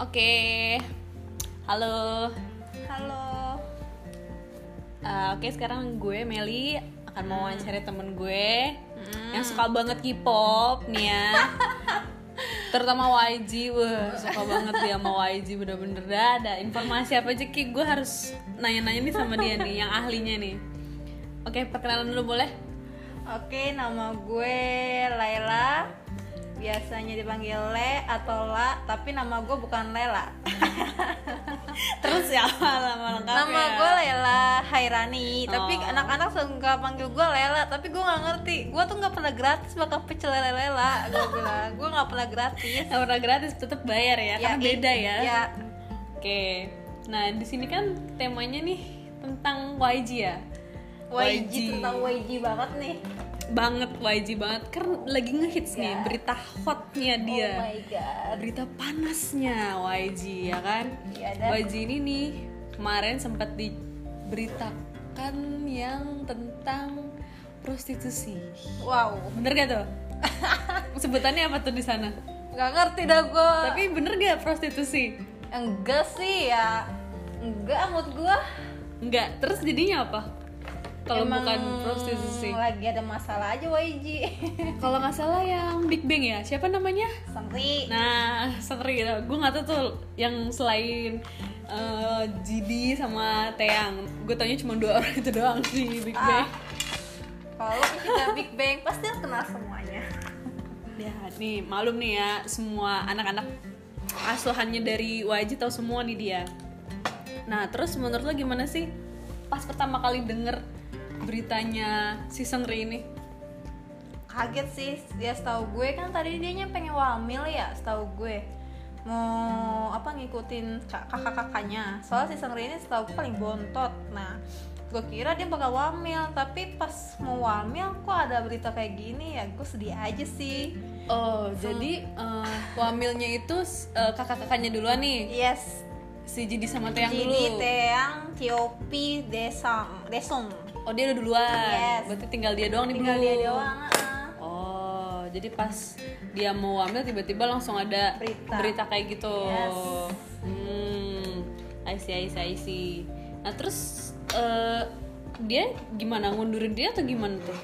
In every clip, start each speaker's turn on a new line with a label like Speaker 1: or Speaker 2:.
Speaker 1: Oke. Halo.
Speaker 2: Halo.
Speaker 1: Eh, Oke, sekarang gue Meli akan mau wawancarai temen gue yang suka banget K-pop nih ya. Terutama YG, wah suka banget dia sama YG bener-bener Dah ada informasi apa aja Ki gue harus nanya-nanya nih sama dia nih yang ahlinya nih. Oke, perkenalan dulu boleh?
Speaker 2: Oke, nama gue Laila. Biasanya dipanggil Le atau La, tapi nama gue bukan Lela.
Speaker 1: Terus ya lama lengkapnya.
Speaker 2: nama gue Lela Hairani, tapi
Speaker 1: Oh.
Speaker 2: anak-anak suka panggil gue Lela, tapi gue nggak ngerti. Gue tuh nggak pernah gratis makan pecel lele Lela. Gue bilang, gue nggak pernah gratis.
Speaker 1: Nggak pernah gratis tetap bayar ya, karena
Speaker 2: i-
Speaker 1: beda ya.
Speaker 2: Ya,
Speaker 1: Oke, nah di sini kan temanya nih tentang YG ya,
Speaker 2: YG,
Speaker 1: YG.
Speaker 2: tentang YG banget nih.
Speaker 1: banget YG banget kan lagi ngehits nih berita hotnya dia,
Speaker 2: Ya. Oh my god.
Speaker 1: berita panasnya YG ya kan.
Speaker 2: Iya, dan-
Speaker 1: YG ini nih kemarin sempat diberitakan yang tentang prostitusi.
Speaker 2: Wow.
Speaker 1: Bener gak tuh? Sebutannya apa tuh di sana?
Speaker 2: Gak ngerti dah gue.
Speaker 1: Tapi bener gak prostitusi?
Speaker 2: Enggak sih ya. Enggak mood gue.
Speaker 1: Enggak. Terus jadinya apa? Kalau
Speaker 2: Emang
Speaker 1: bukan prostitusi.
Speaker 2: lagi ada masalah aja YG
Speaker 1: Kalau nggak salah yang Big Bang ya, siapa namanya?
Speaker 2: Sangri
Speaker 1: Nah, seri gitu. Gue nggak tahu tuh yang selain eh, Jidi sama Teang. Gue tanya cuma dua orang itu doang di Big Bang.
Speaker 2: kalau kita Big Bang pasti lo kenal semuanya
Speaker 1: Ya, nih malum nih ya semua anak-anak asuhannya dari YG tahu semua nih dia. Nah, terus menurut lo gimana sih pas pertama kali denger beritanya si Sengri ini?
Speaker 2: kaget sih ya setahu gue kan tadi dia pengen wamil ya setahu gue mau apa ngikutin kak- kakak-kakaknya soal si Sangri ini setahu gue paling bontot nah gue kira dia bakal wamil tapi pas mau wamil kok ada berita kayak gini ya gue sedih aja sih
Speaker 1: Oh, jadi eh, wamilnya itu eh, kakak-kakaknya duluan nih.
Speaker 2: yes
Speaker 1: Si Jidi sama Teang
Speaker 2: jadi
Speaker 1: dulu.
Speaker 2: Teang, Tiopi, Desang, Desung
Speaker 1: Oh, dia udah duluan.
Speaker 2: Yes.
Speaker 1: Berarti tinggal dia doang nih,
Speaker 2: tinggal
Speaker 1: Bu.
Speaker 2: dia doang ah.
Speaker 1: Oh, jadi pas dia mau wamil tiba-tiba langsung ada
Speaker 2: Berita.
Speaker 1: kayak gitu.
Speaker 2: Yes.
Speaker 1: Hmm. I see, I see, I see. Nah, terus eh, dia gimana ngundurin dia atau gimana tuh?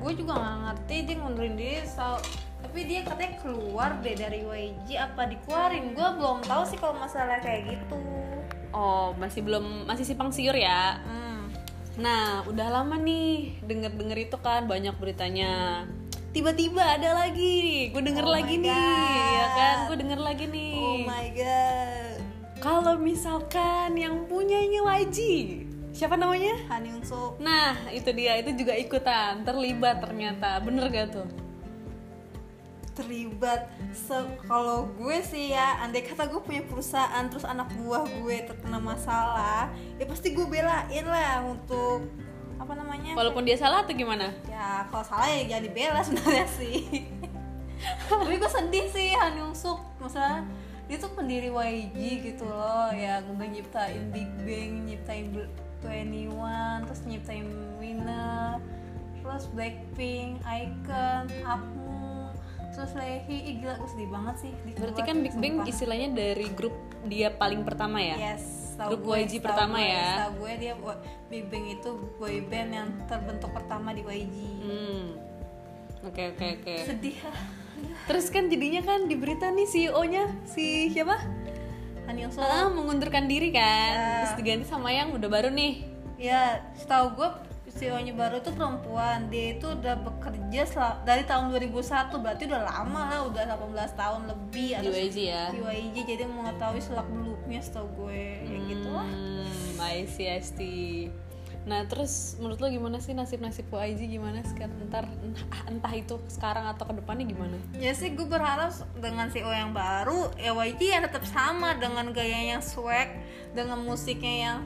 Speaker 2: gue juga nggak ngerti dia ngundurin diri so- tapi dia katanya keluar deh dari YG apa dikeluarin gue belum tahu sih kalau masalah kayak gitu
Speaker 1: Oh, masih belum masih simpang siur ya.
Speaker 2: hmm.
Speaker 1: Nah, udah lama nih denger-denger itu kan banyak beritanya. Tiba-tiba ada lagi, gue denger
Speaker 2: Oh my
Speaker 1: lagi nih,
Speaker 2: God.
Speaker 1: ya kan? Gue denger lagi nih.
Speaker 2: oh my god
Speaker 1: Kalau misalkan yang punyanya YG, siapa namanya?
Speaker 2: Han Yoon Suk
Speaker 1: Nah, itu dia, itu juga ikutan, terlibat ternyata, bener gak tuh?
Speaker 2: terlibat Se- kalau gue sih ya andai kata gue punya perusahaan terus anak buah gue terkena masalah ya pasti gue belain lah untuk apa namanya
Speaker 1: Walaupun dia salah atau gimana?
Speaker 2: ya kalau salah ya jangan dibela sebenarnya sih tapi gue sedih sih Han Yung Suk masalah dia tuh pendiri YG gitu loh yang udah nyiptain Big Bang nyiptain Twenty One terus nyiptain Winner terus Blackpink Icon Apmu terus Lehi Ih, gila gue sedih banget sih
Speaker 1: Berarti kan Big Bang
Speaker 2: is
Speaker 1: istilahnya dari grup dia paling pertama
Speaker 2: Iya.
Speaker 1: ya?
Speaker 2: Yes, tahu
Speaker 1: Grup YG
Speaker 2: tahu
Speaker 1: pertama
Speaker 2: gue,
Speaker 1: ya.
Speaker 2: Tahu gue dia wo- Big Bang itu boyband yang terbentuk pertama di YG.
Speaker 1: Hmm. Oke, oke, oke.
Speaker 2: Sedih ah.
Speaker 1: Terus kan jadinya kan di berita nih CEO-nya si siapa?
Speaker 2: Han Yung Suk.
Speaker 1: Ah, mengundurkan diri
Speaker 2: Ah.
Speaker 1: kan. Terus diganti sama yang udah baru nih.
Speaker 2: Ya, setahu gue CEO-nya baru tuh perempuan. Dia itu udah bekerja sel- dari tahun 2001, berarti udah lama lah, udah 18 tahun lebih
Speaker 1: Di
Speaker 2: atau
Speaker 1: YG ya.
Speaker 2: di YG, jadi mengetahui selak beluknya setahu gue kayak gitu lah.
Speaker 1: Hmm, I see, I see. Nah, terus menurut lo gimana sih nasib-nasib YG gimana sekarang ntar entah, entah itu sekarang atau kedepannya gimana?
Speaker 2: Ya sih gue berharap dengan CEO yang baru ya YG ya tetap sama dengan gaya yang swag, dengan musiknya yang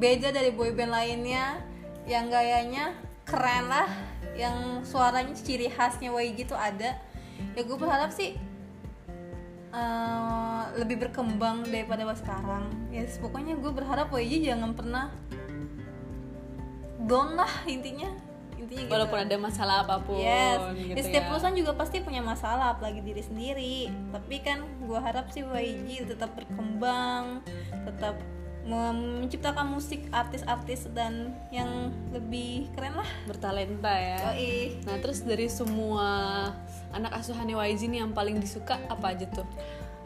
Speaker 2: beda dari boyband lainnya, yang gayanya keren lah, yang suaranya ciri khasnya YG tuh ada. Ya gue berharap sih eh, lebih berkembang daripada pas sekarang. Ya yes, pokoknya gue berharap YG jangan pernah down lah intinya. intinya gitu
Speaker 1: walaupun ada masalah apapun
Speaker 2: yes
Speaker 1: gitu
Speaker 2: Di setiap
Speaker 1: ya.
Speaker 2: perusahaan juga pasti punya masalah apalagi diri sendiri tapi kan gua harap sih YG tetap berkembang tetap mem- menciptakan musik artis-artis dan yang lebih keren lah
Speaker 1: bertalenta ya
Speaker 2: Oh. Yoi.
Speaker 1: nah terus dari semua anak asuhannya YG nih yang paling disuka apa aja tuh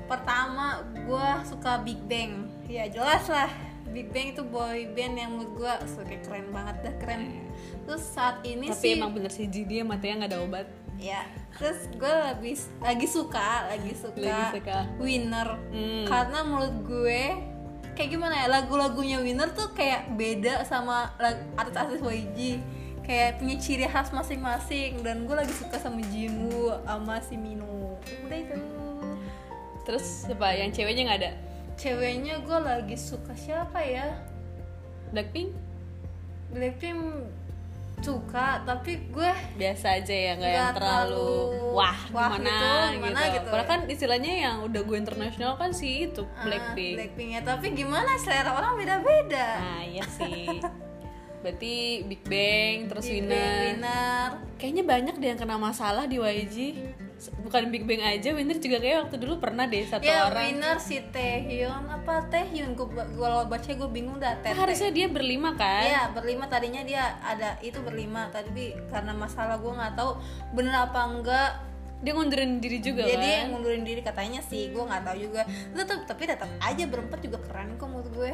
Speaker 2: pertama gua suka Big Bang ya jelas lah Big Bang itu boy band yang menurut gua suka keren banget dah keren terus saat
Speaker 1: Iya.
Speaker 2: ini
Speaker 1: tapi
Speaker 2: sih
Speaker 1: emang bener sih Ji, dia matanya nggak ada obat
Speaker 2: ya terus gue lebih lagi suka lagi suka,
Speaker 1: Lagi suka.
Speaker 2: winner
Speaker 1: Hmm.
Speaker 2: karena menurut gue kayak gimana ya lagu-lagunya winner tuh kayak beda sama lag- artis-artis YG kayak punya ciri khas masing-masing dan gue lagi suka sama Jimu sama si Minu udah itu
Speaker 1: terus siapa yang ceweknya nggak ada
Speaker 2: ceweknya gue lagi suka siapa ya
Speaker 1: Blackpink
Speaker 2: Blackpink suka tapi gue
Speaker 1: biasa aja ya nggak
Speaker 2: Nggak
Speaker 1: yang terlalu
Speaker 2: terlalu
Speaker 1: wah,
Speaker 2: wah
Speaker 1: gimana,
Speaker 2: gitu,
Speaker 1: gitu,
Speaker 2: gimana gitu.
Speaker 1: Padahal kan istilahnya yang udah gue internasional kan sih itu
Speaker 2: ah,
Speaker 1: Blackpink.
Speaker 2: Blackpink ya tapi gimana selera orang beda-beda
Speaker 1: Nah iya sih. Berarti Big Bang terus
Speaker 2: Big Bang
Speaker 1: Winner.
Speaker 2: winner.
Speaker 1: Kayaknya banyak deh yang kena masalah di YG. S- Bukan Big Bang aja, Winner juga kayak waktu dulu pernah deh satu
Speaker 2: ya
Speaker 1: orang.
Speaker 2: winner si Taehyun apa Taehyun gue kalau baca gue bingung dah Tae
Speaker 1: Kan harusnya dia berlima kan?
Speaker 2: Iya berlima tadinya dia ada itu berlima tadi karena masalah gue nggak tahu bener apa enggak
Speaker 1: Dia ngundurin diri juga
Speaker 2: jadi
Speaker 1: kan?
Speaker 2: yang ngundurin diri katanya sih gue nggak tahu juga tetap tapi tetap aja berempat juga keren kok menurut gue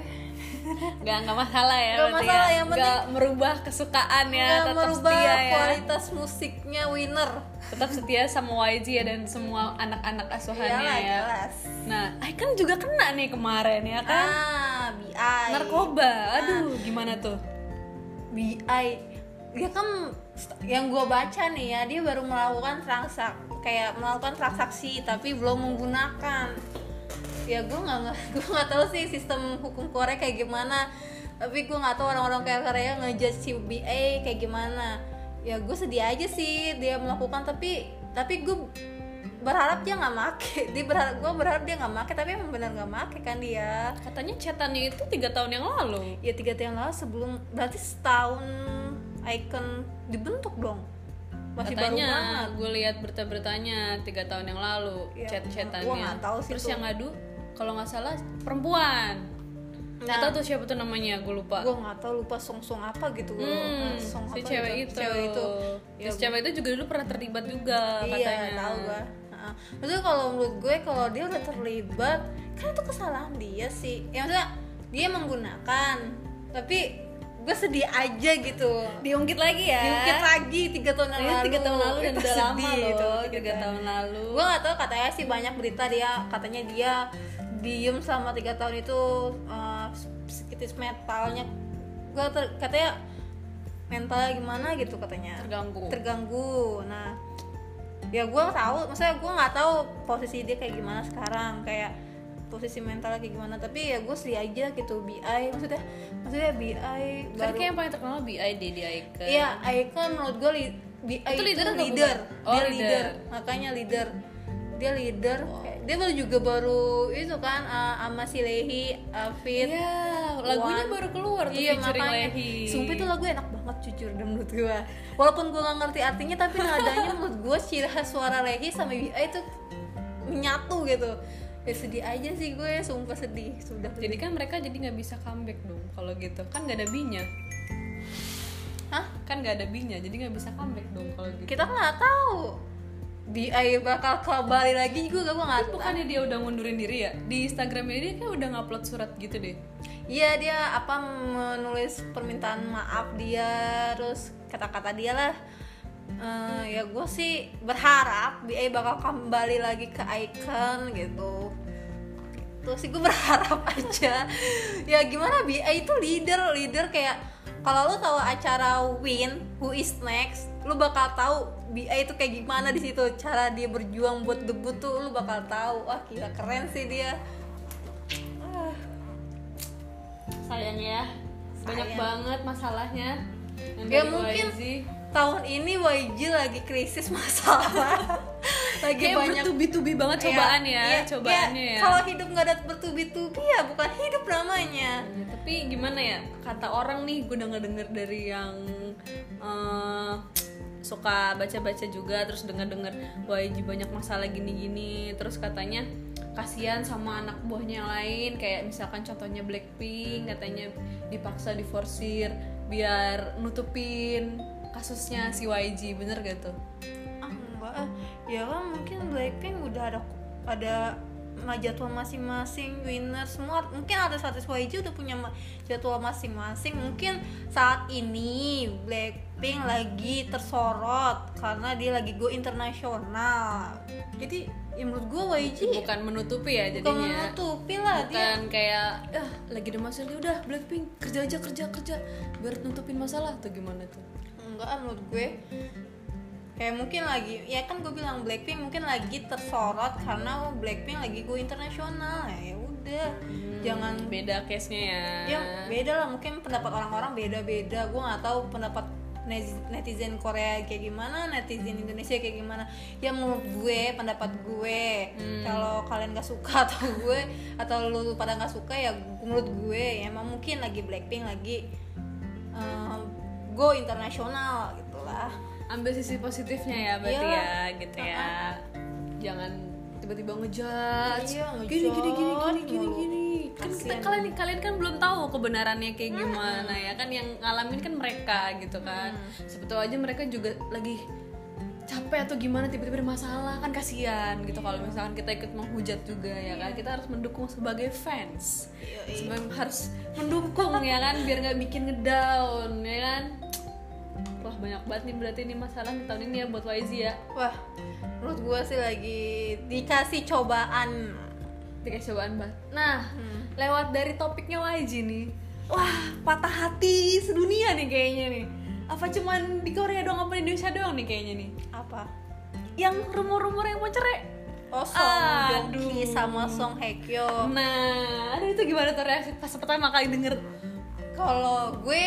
Speaker 1: Gak, nggak masalah ya
Speaker 2: Nggak
Speaker 1: berarti
Speaker 2: masalah,
Speaker 1: ya.
Speaker 2: yang penting-
Speaker 1: Nggak merubah kesukaan ya
Speaker 2: Nggak
Speaker 1: tetap
Speaker 2: merubah
Speaker 1: setia ya
Speaker 2: kualitas musiknya winner
Speaker 1: tetap setia sama YG ya dan semua anak-anak asuhannya
Speaker 2: Iyalah,
Speaker 1: ya
Speaker 2: jelas
Speaker 1: nah Icon juga kena nih kemarin ya kan
Speaker 2: ah BI
Speaker 1: narkoba aduh gimana tuh
Speaker 2: BI dia kan st- yang gue baca nih ya dia baru melakukan transak kayak melakukan transaksi tapi belum menggunakan ya gue nggak nge- gue nggak tahu sih sistem hukum Korea kayak gimana tapi gue nggak tahu orang-orang kayak Korea ngejudge si BI kayak gimana ya gue sedih aja sih dia melakukan tapi tapi gue berharap dia nggak make dia berharap gue berharap dia nggak make tapi emang benar nggak make kan dia
Speaker 1: katanya chatannya itu tiga tahun yang lalu
Speaker 2: ya tiga tahun yang lalu sebelum berarti setahun icon dibentuk dong masih
Speaker 1: katanya
Speaker 2: baru banget
Speaker 1: gue lihat berita-beritanya tiga tahun yang lalu
Speaker 2: Ya,
Speaker 1: chat-chatannya
Speaker 2: gua nggak tahu sih
Speaker 1: terus
Speaker 2: tuh.
Speaker 1: yang ngadu kalau nggak salah perempuan
Speaker 2: nah
Speaker 1: atau tuh siapa tuh namanya gue lupa
Speaker 2: gue nggak tahu lupa song song apa gitu loh
Speaker 1: Hmm,
Speaker 2: song
Speaker 1: si
Speaker 2: apa
Speaker 1: cewek
Speaker 2: gitu.
Speaker 1: itu.
Speaker 2: cewek itu Ya,
Speaker 1: Terus cewek itu juga dulu pernah terlibat juga katanya.
Speaker 2: iya tahu gue Maksudnya kalau menurut gue kalau dia udah terlibat kan itu kesalahan dia sih ya maksudnya dia menggunakan tapi gue sedih aja gitu
Speaker 1: Diungkit lagi ya.
Speaker 2: diungkit lagi tiga tahun yang
Speaker 1: Iya,
Speaker 2: lalu
Speaker 1: tiga tahun lalu dan
Speaker 2: Itu
Speaker 1: udah lama
Speaker 2: sedih gitu. itu,
Speaker 1: loh gitu kan.
Speaker 2: tiga
Speaker 1: tiga tahun lalu
Speaker 2: gue gak tau katanya sih banyak berita dia katanya dia diem selama tiga tahun itu uh, psikitis mentalnya gue katanya mentalnya gimana gitu katanya
Speaker 1: terganggu
Speaker 2: terganggu nah ya gue tahu maksudnya gue nggak tahu posisi dia kayak gimana sekarang kayak posisi mentalnya kayak gimana tapi ya gue sedih aja gitu bi maksudnya maksudnya bi
Speaker 1: kan
Speaker 2: baru
Speaker 1: kayak yang paling terkenal BI deh di Icon
Speaker 2: Iya, Aika menurut gue li- bi-
Speaker 1: kan. Itu leader atau
Speaker 2: leader.
Speaker 1: bukan? Oh,
Speaker 2: dia
Speaker 1: leader.
Speaker 2: leader. Makanya leader. Dia leader. Kayak- Dia baru juga baru itu kan uh, sama si Lehi, Afid.
Speaker 1: Iya, lagunya
Speaker 2: Wan.
Speaker 1: baru keluar tuh
Speaker 2: Iya
Speaker 1: featuring
Speaker 2: makanya
Speaker 1: Lehi.
Speaker 2: Sumpah itu lagu enak banget jujur deh menurut gue Walaupun gue gak ngerti artinya Tapi nadanya menurut gue ciri khas suara Lehi sama Bi eh, itu menyatu gitu Ya sedih aja sih gue Sumpah sedih Sudah
Speaker 1: Jadi kan mereka jadi nggak bisa comeback dong kalau gitu. Kan nggak ada B-nya.
Speaker 2: Hah?
Speaker 1: Kan nggak ada B-nya, jadi nggak bisa comeback dong kalau gitu.
Speaker 2: Kita nggak tahu Bi eh, bakal kembali lagi juga gue gak tahu
Speaker 1: Kan Bukannya dia udah ngundurin diri ya? Di Instagramnya dia kayak udah ngupload surat gitu deh.
Speaker 2: Iya dia apa menulis permintaan maaf dia terus kata-kata dia lah Eh, ya gue sih berharap BA bakal kembali lagi ke icon gitu terus sih gue berharap aja ya gimana BA itu leader leader kayak kalau lu tahu acara Win Who is Next lu bakal tahu BA itu kayak gimana di situ cara dia berjuang buat debut tuh lu bakal tahu wah gila keren sih dia Ah.
Speaker 1: Sayang ya. Banyak
Speaker 2: Sayang.
Speaker 1: banget masalahnya. Yang
Speaker 2: Ya
Speaker 1: dari
Speaker 2: mungkin
Speaker 1: YG.
Speaker 2: tahun ini YG lagi krisis masalah lagi
Speaker 1: kayak
Speaker 2: banyak
Speaker 1: bertubi-tubi banget
Speaker 2: Iya,
Speaker 1: cobaan ya,
Speaker 2: iya,
Speaker 1: cobaannya
Speaker 2: kayak
Speaker 1: ya.
Speaker 2: Kalau hidup nggak ada bertubi-tubi ya bukan hidup namanya.
Speaker 1: Ya, tapi gimana ya kata orang nih gue denger denger dari yang eh, suka baca baca juga terus denger denger YG banyak masalah gini gini terus katanya kasihan sama anak buahnya yang lain kayak misalkan contohnya Blackpink katanya dipaksa diforsir biar nutupin kasusnya si YG bener gak tuh
Speaker 2: Ah, enggak, ah. ya kan mungkin Blackpink udah ada ada ma- jadwal masing-masing winner semua mungkin ada status YG udah punya ma- jadwal masing-masing mungkin saat ini Blackpink lagi tersorot karena dia lagi go internasional jadi ya menurut gue YG
Speaker 1: bukan menutupi ya
Speaker 2: bukan
Speaker 1: jadinya
Speaker 2: menutupi lah dia
Speaker 1: bukan kayak ah lagi ada masalah ya udah Blackpink kerja aja kerja kerja biar nutupin masalah atau gimana tuh
Speaker 2: enggak ah, menurut gue kayak mungkin lagi ya kan gue bilang Blackpink mungkin lagi tersorot karena Blackpink lagi gue internasional ya udah
Speaker 1: Hmm.
Speaker 2: jangan
Speaker 1: beda case nya ya.
Speaker 2: ya beda lah mungkin pendapat orang-orang beda-beda gue nggak tahu pendapat netiz- netizen Korea kayak gimana netizen Indonesia kayak gimana ya menurut gue pendapat gue kalau kalian gak suka atau gue atau lu pada nggak suka ya menurut gue ya emang mungkin lagi Blackpink lagi um, go internasional gitulah
Speaker 1: Ambil sisi positifnya ya berarti
Speaker 2: Iya.
Speaker 1: ya gitu ya. Jangan tiba-tiba ngejudge.
Speaker 2: Iya,
Speaker 1: Gini gini gini gini
Speaker 2: ngejudge
Speaker 1: gini
Speaker 2: mulu.
Speaker 1: gini. Kan kita
Speaker 2: Kasian.
Speaker 1: kalian kalian kan belum tahu kebenarannya kayak gimana ya kan yang ngalamin kan mereka gitu kan. Sebetulnya aja mereka juga lagi capek atau gimana tiba-tiba ada masalah kan kasihan gitu kalau
Speaker 2: Iya.
Speaker 1: misalkan kita ikut menghujat juga ya kan kita harus mendukung sebagai fans Sebab harus mendukung ya kan biar nggak bikin ngedown ya kan wah banyak banget nih berarti ini masalah nih tahun ini ya buat YG ya
Speaker 2: wah menurut gue sih lagi dikasih cobaan
Speaker 1: dikasih cobaan banget nah lewat dari topiknya YG nih wah patah hati sedunia nih kayaknya nih apa cuman di Korea doang apa di Indonesia doang nih kayaknya nih
Speaker 2: apa
Speaker 1: yang rumor-rumor yang mau cerai
Speaker 2: Oh, Song
Speaker 1: Aduh.
Speaker 2: Joong Ki sama Song Hye Kyo.
Speaker 1: nah aduh itu gimana tuh reaksi pas pertama kali denger
Speaker 2: Kalau gue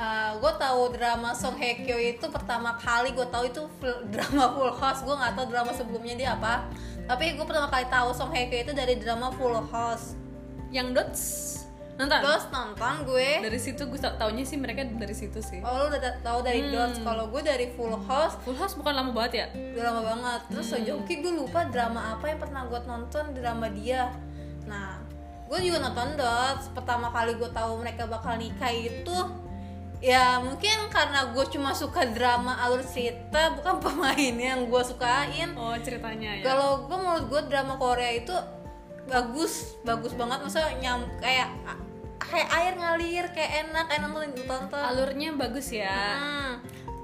Speaker 2: uh, gue tahu drama Song Hye Kyo itu pertama kali gue tahu itu full- drama Full House. Gue nggak tahu drama sebelumnya dia apa. Tapi gue pertama kali tahu Song Hye Kyo itu dari drama Full House.
Speaker 1: yang dots nonton
Speaker 2: Terus nonton gue.
Speaker 1: dari situ gue tau- taunya sih mereka dari situ sih
Speaker 2: Oh lu udah ta- tahu dari Dots. Kalau gue dari Full House
Speaker 1: Full House bukan lama banget ya?
Speaker 2: udah lama banget. Terus Song Joong Ki gue lupa drama apa yang pernah gue nonton drama dia. Nah gue juga nonton Dots. Pertama kali gue tahu mereka bakal nikah itu ya mungkin karena gue cuma suka drama alur cerita bukan pemain yang gue sukain
Speaker 1: Oh ceritanya ya.
Speaker 2: kalau gue menurut gue drama Korea itu bagus bagus banget masa nyam kayak kayak air ngalir kayak enak enak nonton nonton
Speaker 1: Alurnya bagus ya.
Speaker 2: Hmm,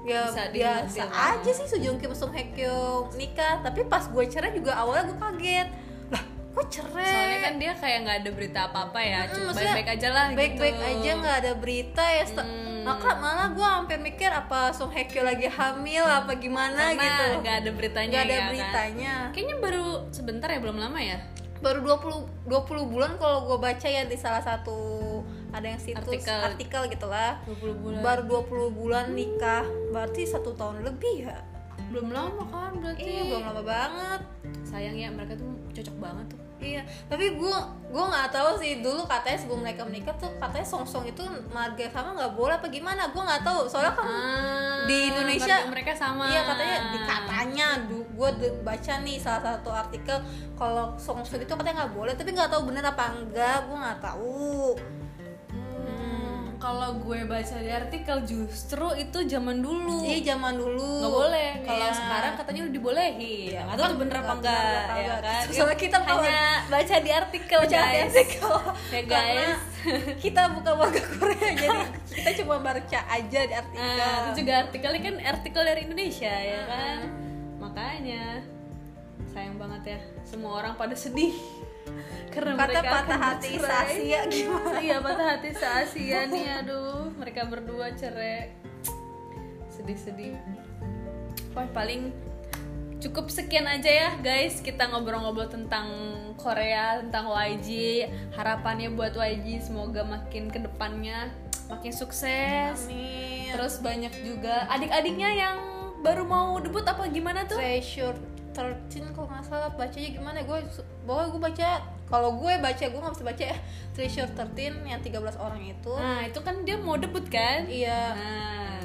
Speaker 2: ya
Speaker 1: Bisa
Speaker 2: biasa
Speaker 1: dimengerti lah.
Speaker 2: aja sih Sujung Kim Sung Hye Kyo nikah tapi pas gue cerai juga awalnya gue kaget lah kok cerai
Speaker 1: Soalnya kan dia kayak nggak ada berita apa-apa ya.
Speaker 2: Mm,
Speaker 1: Cuma
Speaker 2: maksudnya
Speaker 1: baik-baik aja lah.
Speaker 2: baik-baik
Speaker 1: gitu.
Speaker 2: aja nggak ada berita ya sta-
Speaker 1: Hmm.
Speaker 2: maka malah gue hampir mikir apa Sung Hye Kyo lagi hamil apa gimana
Speaker 1: Karena
Speaker 2: gitu
Speaker 1: nggak ada beritanya.
Speaker 2: nggak ada
Speaker 1: ya kan?
Speaker 2: beritanya
Speaker 1: Kayaknya baru sebentar ya belum lama ya.
Speaker 2: baru 20 20 bulan kalau gue baca ya di salah satu ada yang situs
Speaker 1: Artikel.
Speaker 2: artikel gitu lah
Speaker 1: 20 bulan.
Speaker 2: baru 20 bulan nikah berarti satu tahun lebih ya
Speaker 1: belum lama kan berarti.
Speaker 2: iya belum lama banget
Speaker 1: Sayang ya mereka tuh cocok banget tuh.
Speaker 2: Iya, tapi gue gue nggak tahu sih dulu katanya sebelum mereka menikah tuh katanya songsong itu marga sama nggak boleh apa gimana? Gue nggak tahu soalnya kan di Indonesia
Speaker 1: Ah, keluarga mereka sama.
Speaker 2: iya katanya dikatanya gue baca nih salah satu artikel kalau songsong itu katanya nggak boleh tapi nggak tahu bener apa enggak gue nggak tahu
Speaker 1: Hmm, Kalau gue baca di artikel justru itu zaman dulu.
Speaker 2: iya zaman dulu
Speaker 1: nggak boleh kalau
Speaker 2: Iya.
Speaker 1: sekarang katanya udah dibolehin
Speaker 2: Iya,
Speaker 1: nggak tahu tuh bener apa enggak
Speaker 2: bener apa
Speaker 1: ya
Speaker 2: enggak.
Speaker 1: kan
Speaker 2: soalnya kita
Speaker 1: hanya
Speaker 2: baca di artikel
Speaker 1: Baca di
Speaker 2: guys
Speaker 1: artikel. Ya,
Speaker 2: Karena
Speaker 1: guys.
Speaker 2: kita bukan warga Korea jadi kita cuma baca aja di artikel
Speaker 1: nah, itu juga artikelnya kan artikel dari Indonesia ya kan makanya sayang banget ya semua orang pada sedih karena
Speaker 2: kata
Speaker 1: mereka
Speaker 2: patah
Speaker 1: akan
Speaker 2: hati
Speaker 1: bercerai.
Speaker 2: Asia gimana
Speaker 1: iya patah hati se Asia nih aduh mereka berdua cerai sedih-sedih Wah paling cukup sekian aja ya guys kita ngobrol-ngobrol tentang Korea tentang YG harapannya buat YG semoga makin kedepannya makin sukses
Speaker 2: Amin. Iya.
Speaker 1: terus banyak juga adik-adiknya yang baru mau debut apa gimana tuh
Speaker 2: Treasure 13 kalau nggak salah bacanya gimana gue bahwa gue baca kalau gue baca gue nggak bisa baca ya. Treasure 13 yang 13 orang itu
Speaker 1: Nah, itu kan dia mau debut kan?
Speaker 2: iya
Speaker 1: Nah,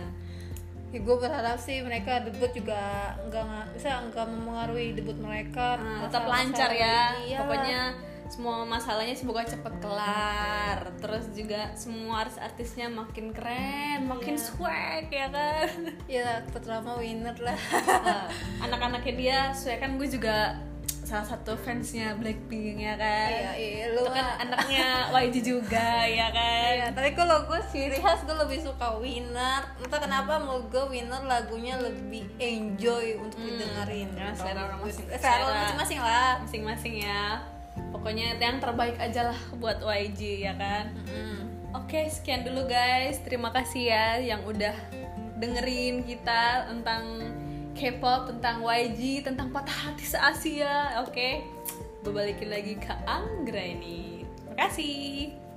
Speaker 2: ya gue berharap sih mereka debut juga nggak nggak bisa nggak mempengaruhi debut mereka
Speaker 1: nah,
Speaker 2: masalah-
Speaker 1: tetap lancar ya.
Speaker 2: masalah- Ah, iya.
Speaker 1: Pokoknya semua masalahnya semoga cepet kelar. Terus juga semua artis-artisnya makin keren, makin
Speaker 2: Iya.
Speaker 1: swag ya kan.
Speaker 2: ya terutama winner lah Ah.
Speaker 1: Nah, Anak-anaknya dia swag kan gue juga salah satu fansnya Blackpink ya kan.
Speaker 2: iya iya lu
Speaker 1: Itu kan
Speaker 2: mah-
Speaker 1: anaknya YG juga ya kan.
Speaker 2: Iya, tapi kalau gue ciri khas gue lebih suka winner entah kenapa
Speaker 1: Hmm.
Speaker 2: mau gue winner lagunya lebih enjoy untuk didengerin
Speaker 1: karena Hmm. selera orang masing-
Speaker 2: Eh, selera orang
Speaker 1: selera.
Speaker 2: masing-masing lah
Speaker 1: masing-masing ya pokoknya yang terbaik aja lah buat YG ya kan oke sekian dulu guys terima kasih ya yang udah dengerin kita tentang K-pop tentang YG tentang patah hati se Asia oke gue balikin lagi ke Anggra ini terima kasih